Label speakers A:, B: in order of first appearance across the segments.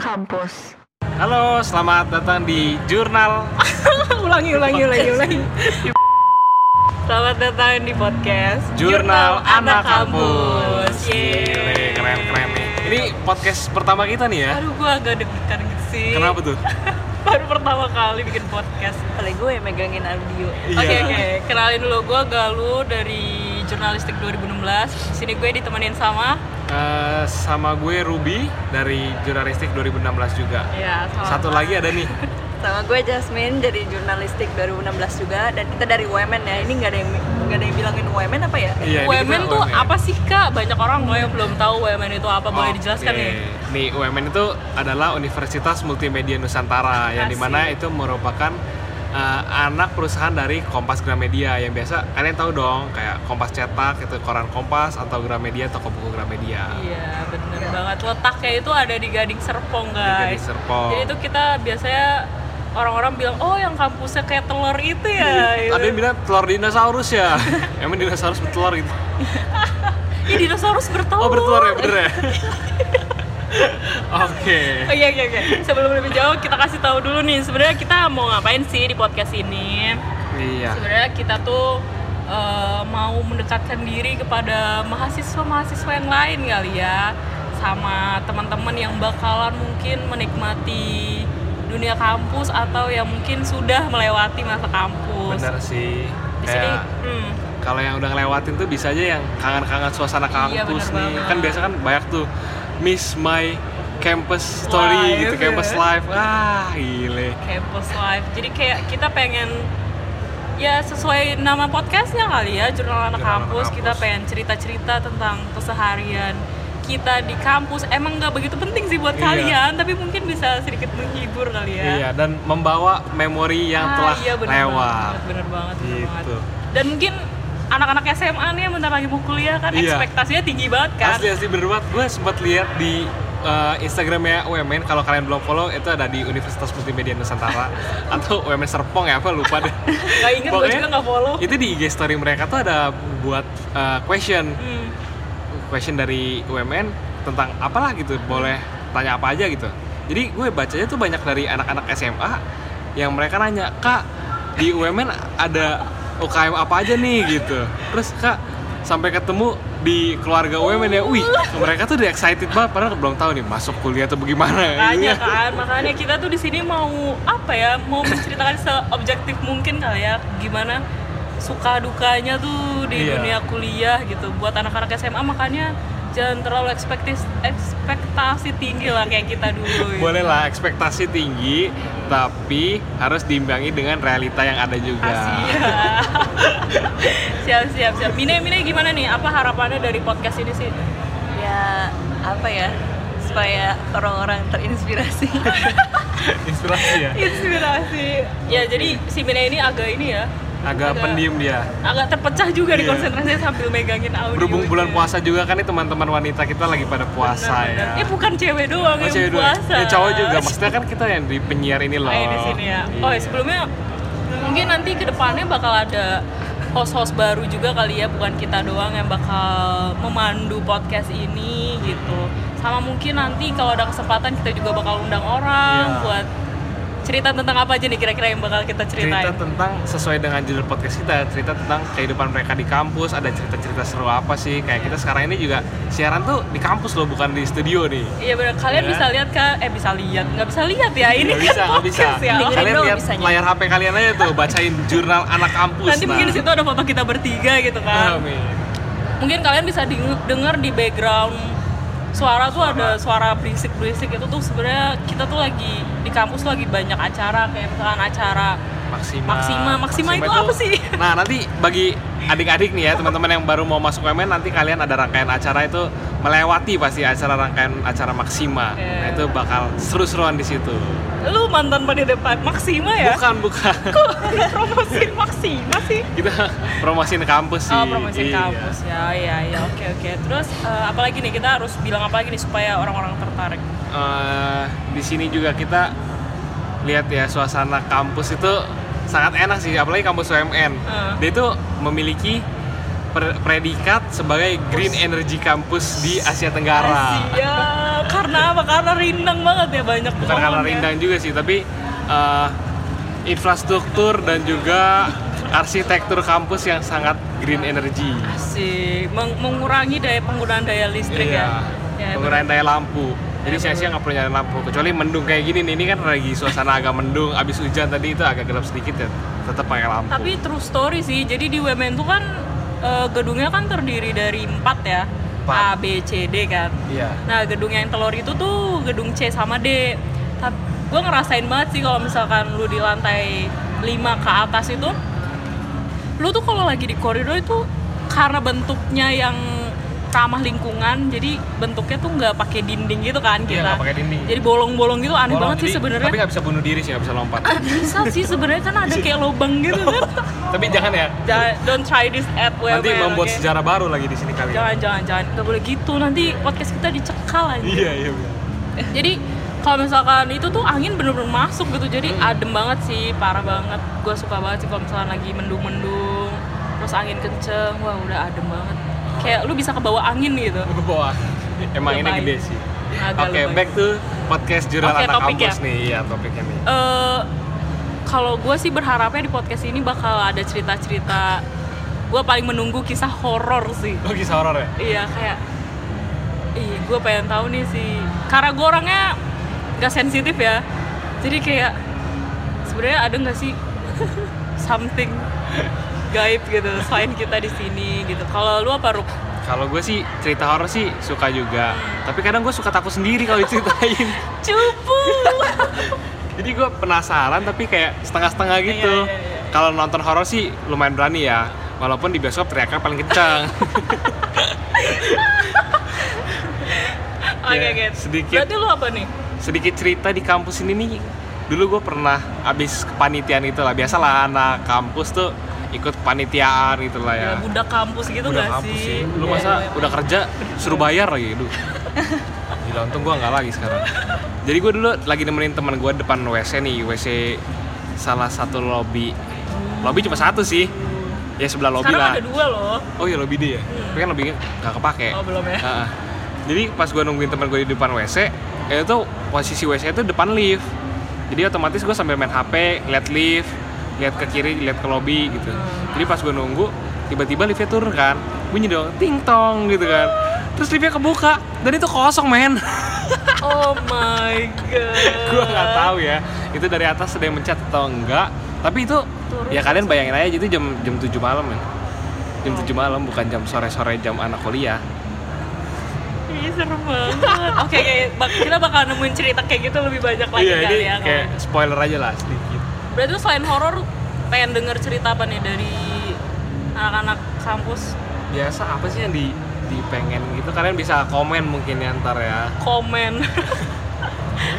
A: kampus.
B: Halo, selamat datang di jurnal.
C: ulangi ulangi ulangi ulangi selamat datang di podcast
B: Jurnal Anak Kampus. Gile,
C: Yeay.
B: keren keren nih. Ini podcast pertama kita nih ya.
C: aduh gua agak deg-degan gitu sih
B: Kenapa tuh?
C: baru pertama kali bikin podcast kali gue yang megangin audio oke
B: Iya.
C: oke kenalin dulu gua Galuh dari jurnalistik 2016 sini gue ditemenin sama
B: Eh, sama gue Ruby dari Jurnalistik 2016 juga.
C: ya sama
B: Satu lagi ada nih.
A: Sama gue Jasmine dari jurnalistik 2016 juga dan kita dari Women ya. Ini nggak ada yang nggak ada yang bilangin Women apa ya?
B: Iya, ini
C: UMN
B: kita
C: tuh
B: UMN.
C: apa sih kak? Banyak orang loh yang belum tahu UMN itu apa, boleh
B: Oke.
C: dijelaskan ya? nih?
B: Nih, UMN itu adalah Universitas Multimedia Nusantara yang
C: Asik.
B: dimana itu merupakan eh, anak perusahaan dari Kompas Gramedia yang biasa kalian tahu dong kayak Kompas cetak itu koran Kompas atau Gramedia toko buku Gramedia.
C: Iya bener banget letaknya itu ada di Gading Serpong
B: Jadi
C: guys.
B: Serpong.
C: Jadi itu kita biasanya orang-orang bilang oh yang kampusnya kayak telur itu ya.
B: Ada yang bilang telur dinosaurus ya. Emang dinosaurus bertelur gitu.
C: Ih, dinosaurus bertelur.
B: Oh, bertelur ya, bener ya? Oke.
C: Oh, iya iya iya. Sebelum lebih jauh kita kasih tahu dulu nih sebenarnya kita mau ngapain sih di podcast ini?
B: Iya.
C: Sebenarnya kita tuh eh, mau mendekatkan diri kepada mahasiswa-mahasiswa yang lain kali ya sama teman-teman yang bakalan mungkin menikmati dunia kampus atau yang mungkin sudah melewati masa kampus.
B: Bener sih.
C: Di sini
B: Kayak
C: hmm,
B: kalau yang udah ngelewatin tuh bisa aja yang kangen-kangen suasana
C: Iya,
B: kampus
C: bener
B: nih.
C: banget.
B: Kan biasa kan banyak tuh miss my campus story
C: Life,
B: gitu,
C: ya.
B: campus life. Ah, gile.
C: campus life. Jadi kayak kita pengen ya sesuai nama podcastnya kali ya jurnal
B: Jurnal
C: anak
B: Anak
C: kampus kita
B: Kampus.
C: pengen cerita-cerita tentang keseharian kita di kampus emang nggak begitu penting sih buat
B: Iya.
C: kalian tapi mungkin bisa sedikit menghibur kali ya
B: Iya, dan membawa memori yang
C: Ah,
B: telah
C: iya, bener
B: lewat.
C: banget, bener banget, bener
B: Gitu.
C: banget. dan mungkin anak-anak SMA nih yang bentar lagi mau kuliah kan
B: Iya.
C: ekspektasinya tinggi banget kan
B: Asli asli bener banget. Gue sempat lihat di uh, Instagramnya UMN. Kalau kalian belum follow, itu ada di Universitas Multimedia Nusantara atau UMN Serpong ya apa lupa deh.
C: nggak inget gue
B: Pokoknya-
C: juga nggak follow
B: itu di IG story mereka tuh ada buat uh, question,
C: Hmm.
B: question dari UMN tentang apalah gitu. Boleh tanya apa aja gitu. Jadi gue bacanya tuh banyak dari anak-anak SMA yang mereka nanya, "Kak, di UMN ada UKM apa aja nih?" gitu. Terus, "Kak, sampai ketemu di keluarga UMN ya, wih mereka tuh udah excited banget padahal belum tahu nih masuk kuliah atau bagaimana
C: Makanya
B: gitu.
C: kan, makanya kita tuh di sini mau apa ya? Mau menceritakan seobjektif mungkin kali ya, gimana suka dukanya tuh di
B: Iya.
C: dunia kuliah gitu. Buat anak-anak SMA makanya jangan terlalu ekspektis ekspektasi tinggi lah kayak kita dulu. ya.
B: boleh lah ekspektasi tinggi tapi harus diimbangi dengan realita yang ada juga
C: Asia. Iya. siap siap siap. Mine Mine gimana nih? Apa harapannya dari podcast ini sih?
A: Ya apa ya? Supaya orang-orang terinspirasi.
B: inspirasi ya
C: Inspirasi. Ya jadi si Mine ini agak ini ya,
B: agak
C: Agak-
B: pendiam dia
C: agak terpecah juga di
B: Iya.
C: konsentrasinya sambil megangin audio.
B: berhubung bulan
C: gitu.
B: puasa juga kan nih teman-teman wanita kita lagi pada puasa
C: Benar-benar.
B: ya
C: Eh bukan cewek doang
B: Oh,
C: yang
B: cewek doang.
C: puasa.
B: Ya, cowok juga maksudnya kan kita yang di penyiar ini loh
C: Oh, di sini ya. Oh,
B: Iya.
C: sebelumnya mungkin nanti kedepannya bakal ada host-host baru juga kali ya, bukan kita doang yang bakal memandu podcast ini gitu. Sama mungkin nanti kalau ada kesempatan kita juga bakal undang orang
B: Iya.
C: buat cerita tentang apa aja nih kira-kira yang bakal kita
B: cerita
C: ceritain.
B: tentang sesuai dengan judul podcast kita cerita tentang kehidupan mereka di kampus ada cerita-cerita seru apa sih kayak kita sekarang ini juga siaran tuh di kampus loh bukan di studio nih
C: Iya benar. Kalian
B: Iya.
C: bisa lihat kan? Eh bisa lihat? Nggak bisa lihat ya? Ini
B: Nggak bisa,
C: kan
B: nggak bisa.
C: podcast ya.
A: Dengerin
B: Kalian
A: dong
B: lihat
A: bisanya.
B: layar HP kalian aja tuh, bacain jurnal anak kampus.
C: Nanti mungkin di situ ada foto kita bertiga gitu kan.
B: Amin.
C: mungkin kalian bisa ding- denger di background suara tuh ada suara berisik-berisik itu tuh sebenarnya kita tuh lagi di kampus tuh lagi banyak acara kayak misalkan acara
B: Maksima.
C: Maksima. Maksima itu apa sih?
B: Nah, nanti bagi adik-adik nih ya, teman-teman yang baru mau masuk UMN, nanti kalian ada rangkaian acara itu melewati pasti acara rangkaian acara Maksima.
C: Oke.
B: Nah, itu bakal seru-seruan di situ.
C: lu mantan panitia depan Maksima ya?
B: Bukan, bukan.
C: Kok lu promosiin Maksima sih?
B: Kita promosiin kampus sih.
C: Oh, promosiin
B: Iya.
C: kampus ya, ya, ya, oke, oke. Terus eh, apalagi nih kita harus bilang apa lagi nih supaya orang-orang tertarik?
B: eh di sini juga kita lihat ya suasana kampus itu sangat enak sih apalagi kampus UMN
C: Hmm.
B: dia itu memiliki per- predikat sebagai Green Energy Campus di Asia Tenggara.
C: Asia. Iya, Karena apa? Karena rindang banget ya banyak
B: Bukan karena
C: pohonnya.
B: rindang juga sih, tapi eh, infrastruktur dan juga arsitektur kampus yang sangat green energy.
C: Asik. Meng- mengurangi daya penggunaan daya listrik
B: Iya.
C: ya. Ya,
B: Penggunaan daya lampu. Jadi
C: Ya,
B: saya nggak perlu nyalain lampu kecuali mendung kayak gini nih. Ini kan lagi suasana agak mendung, abis hujan tadi itu agak gelap sedikit ya. Tetap pakai lampu.
C: Tapi true story sih. Jadi di UMN tuh kan eh, gedungnya kan terdiri dari empat ya.
B: Empat.
C: A, B, C, D kan.
B: iya.
C: Nah, gedung yang telur itu tuh gedung C sama D. Tapi gue ngerasain banget sih kalau misalkan lu di lantai 5 ke atas itu lu tuh kalau lagi di koridor itu karena bentuknya yang ramah lingkungan jadi bentuknya tuh nggak pakai dinding gitu kan
B: Iya,
C: kita
B: nggak pakai dinding.
C: jadi bolong-bolong gitu aneh
B: Bolong,
C: banget sih
B: jadi-
C: sebenarnya
B: Tapi nggak bisa bunuh diri sih, nggak bisa lompat.
C: bisa sih sebenarnya kan ada kayak lubang gitu kan
B: tapi jangan ya.
C: Jangan, don't try this at WMN
B: Nanti membuat
C: oke?
B: sejarah baru lagi di sini kali. ya.
C: jangan jangan jangan nggak boleh gitu nanti podcast kita dicekal aja
B: Iya, iya. bener.
C: jadi kalau misalkan itu tuh angin bener-bener masuk gitu jadi
B: Hmm.
C: adem banget sih parah banget gue suka banget sih kalau misalkan lagi mendung-mendung terus angin kenceng wah udah adem banget kayak lu bisa kebawa angin gitu
B: Ke bawah. Emang ini
C: Lumayan.
B: gede sih.
C: Agak
B: Oke,
C: lumayan.
B: back to podcast Jurnal
C: Oke,
B: Anak
C: topik
B: Kampus
C: ya.
B: nih. Iya, topiknya nih.
C: Eh, kalau gue sih berharapnya di podcast ini bakal ada cerita-cerita gue paling menunggu kisah horor sih
B: Lo kisah horor ya?
C: iya kayak ih gue pengen tahu nih sih karena gue orangnya gak sensitif ya jadi kayak sebenarnya ada nggak sih something gaib gitu selain kita di sini gitu kalau lu apa Rup?
B: Kalau gue sih cerita horor sih suka juga.
C: Hmm.
B: Tapi kadang gue suka takut sendiri kalau diceritain.
C: cupu
B: Jadi gue penasaran tapi kayak setengah-setengah gitu.
C: Iya, iya, iya.
B: Kalau nonton horor sih lumayan berani ya. Walaupun di bioskop teriaknya paling kencang.
C: oke
B: Ya,
C: oke.
B: sedikit.
C: berarti lu apa nih
B: sedikit cerita di kampus ini nih dulu gue pernah abis kepanitiaan itu lah biasalah anak kampus tuh ikut kepanitiaan gitu lah ya
C: Ya, budak kampus gitu
B: Udah
C: nggak
B: kampus
C: sih
B: lu
C: Iya,
B: masa
C: iya.
B: udah kerja suruh bayar lagi aduh gila untung gue nggak lagi sekarang jadi gue dulu lagi nemenin teman gue depan wc nih wc salah satu lobby lobby cuma satu sih ya sebelah lobby
C: sekarang
B: lah
C: ada dua loh
B: Oh iya lobby dia ya? Tapi kan lobbynya nggak kepake
C: Oh, belum ya.
B: Heeh. Jadi pas gue nungguin teman gue di depan WC ya itu posisi WC itu depan lift Jadi otomatis gue sambil main HP, lihat lift, lihat ke kiri, lihat ke lobby gitu
C: Hmm.
B: Jadi pas gue nunggu, tiba-tiba liftnya turun kan Bunyi dong, ting tong gitu kan Terus liftnya kebuka, dan itu kosong men
C: oh my god
B: gue nggak tahu ya itu dari atas ada yang mencet atau enggak tapi itu
C: Turun
B: ya kalian bayangin aja itu jam jam 7 malam ya jam
C: Oh.
B: 7 malam bukan jam sore-sore jam anak kuliah
C: Ih, serem Iya, banget. Oke, oke, bak- kita bakal nemuin cerita kayak gitu lebih banyak lagi
B: iya
C: kali
B: ini
C: ya. kalau-
B: kayak spoiler aja lah sedikit
C: Berarti lu selain horor pengen denger cerita apa nih dari anak-anak kampus?
B: biasa apa sih yang di di pengen gitu kalian bisa komen mungkin ya ntar ya
C: Komen.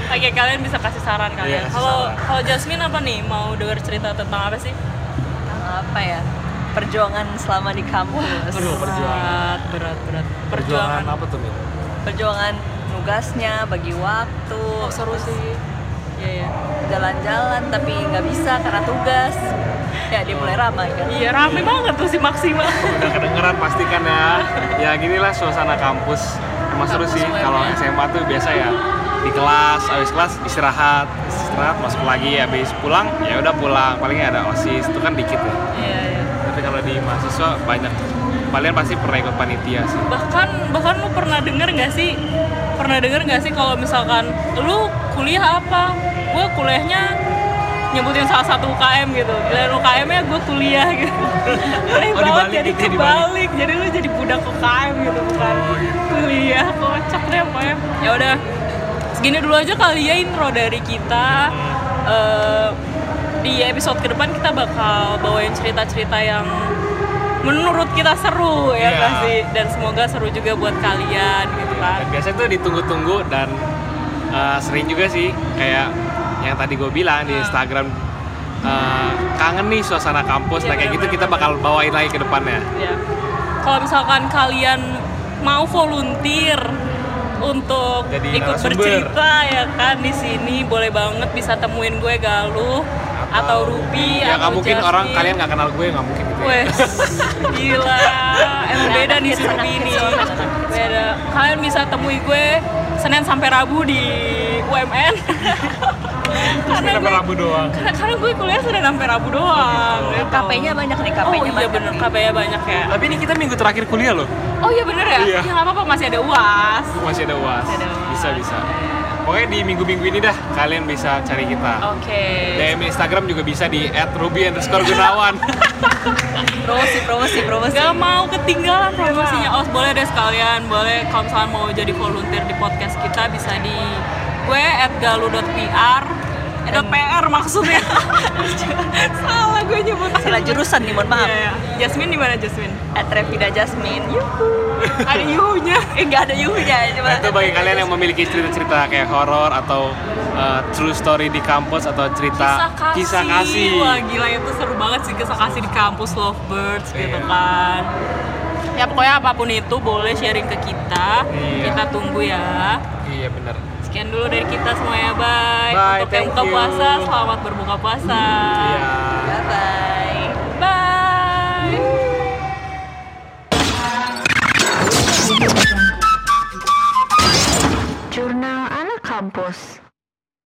C: Oke, kalian bisa kasih saran
B: Iya,
C: kalian.
B: kasih
C: Kalau
B: saran.
C: kalau Jasmine apa nih? Mau denger cerita tentang apa sih?
A: apa ya perjuangan selama di kampus
B: Aduh, perjuangan.
C: Berat, berat, berat.
B: perjuangan
C: Perjuangan.
B: apa tuh Mil?
A: perjuangan nugasnya bagi waktu
C: Oh, seru sih. Iya, iya.
A: jalan-jalan tapi nggak bisa karena tugas ya dia mulai ramai kan
C: Iya, rame banget tuh si Maksimal.
B: udah kedengeran pastikan ya ya ginilah suasana kampus emang seru
C: Kampus
B: sih kalau
C: UMN.
B: SMA tuh biasa ya di kelas habis kelas istirahat istirahat masuk lagi habis pulang ya udah pulang palingnya ada osis itu kan dikit ya
C: Iya, iya.
B: tapi kalau di mahasiswa banyak kalian pasti pernah ikut panitia sih
C: bahkan bahkan lu pernah denger nggak sih pernah denger nggak sih kalau misalkan lu kuliah apa gue kuliahnya nyebutin salah satu UKM gitu dan UKM nya gue kuliah gitu aneh
B: Oh,
C: banget
B: dibalik
C: jadi
B: gitu ya, dibalik. Oh, iya.
C: kebalik jadi lu jadi budak UKM gitu bukan kuliah kocak deh pokoknya ya udah segini dulu aja kali ya intro dari kita Eh, di episode ke depan kita bakal bawain cerita-cerita yang menurut kita seru ya
B: Iya.
C: nggak sih? dan semoga seru juga buat kalian gitu
B: Dan
C: kan
B: biasanya tuh ditunggu-tunggu dan uh, sering juga sih kayak yang tadi gue bilang
C: Ah.
B: di Instagram uh, kangen nih suasana kampus
C: Iya,
B: nah kayak gitu kita bakal
C: benar-benar.
B: bawain lagi ke depannya
C: ya kalau misalkan kalian mau volunteer untuk
B: Jadi
C: ikut
B: narasumber.
C: bercerita ya kan di sini boleh banget bisa temuin gue Galuh atau Ruby
B: ya nggak
C: atau
B: mungkin
C: Jasmine.
B: orang kalian nggak kenal gue nggak mungkin gitu ya.
C: Wes, gila. Emang beda nih si Ruby ini. Beda. Kalian bisa temui gue Senin sampai Rabu di UMN. karena
B: Sampai
C: gue
B: Rabu doang.
C: karena, karena gue kuliah Senin sampai Rabu doang. gitu.
A: KP-nya banyak nih,
C: Oh
A: KP-nya
C: iya
A: banyak.
C: bener,
A: nih.
C: KP-nya banyak ya.
B: Tapi ini kita minggu terakhir kuliah loh.
C: Oh iya bener ya?
B: Iya.
C: Ya nggak apa-apa, masih ada UAS.
B: Masih ada UAS.
C: Masih ada UAS.
B: Bisa bisa. Pokoknya di minggu-minggu ini dah kalian bisa cari kita.
C: Oke.
B: DM Instagram juga bisa di @ruby_gunawan.
A: Promosi, promosi, promosi.
C: Gak mau ketinggalan promosinya. Oh boleh deh sekalian, boleh kalau misalnya mau jadi volunteer di podcast kita bisa di gue at galu.pr Eh, dot PR maksudnya salah gue nyebut
A: Salah jurusan nih, mohon maaf.
C: Iya, iya. Jasmine di mana Jasmine
A: At Revida Jasmine. Yuhu.
C: ada yuhnya
A: Eh, nggak ada yuhunya, cuma...
B: Nah, itu bagi kalian yang memiliki cerita-cerita kayak horor atau uh, true story di kampus atau cerita
C: kisah kasih. Wah gila itu seru banget sih kisah kasih di kampus Lovebirds gitu
B: Iya.
C: kan. Ya pokoknya apapun itu boleh sharing ke kita.
B: Iya.
C: Kita tunggu ya.
B: Iya benar.
C: Sekian dulu dari kita semuanya.
B: Bye,
C: Bye. Untuk yang
B: thank
C: buka
B: you.
C: puasa, selamat berbuka puasa.
B: Iya.
A: Bye-bye.
C: Bye.
D: Jurnal Anak Kampus.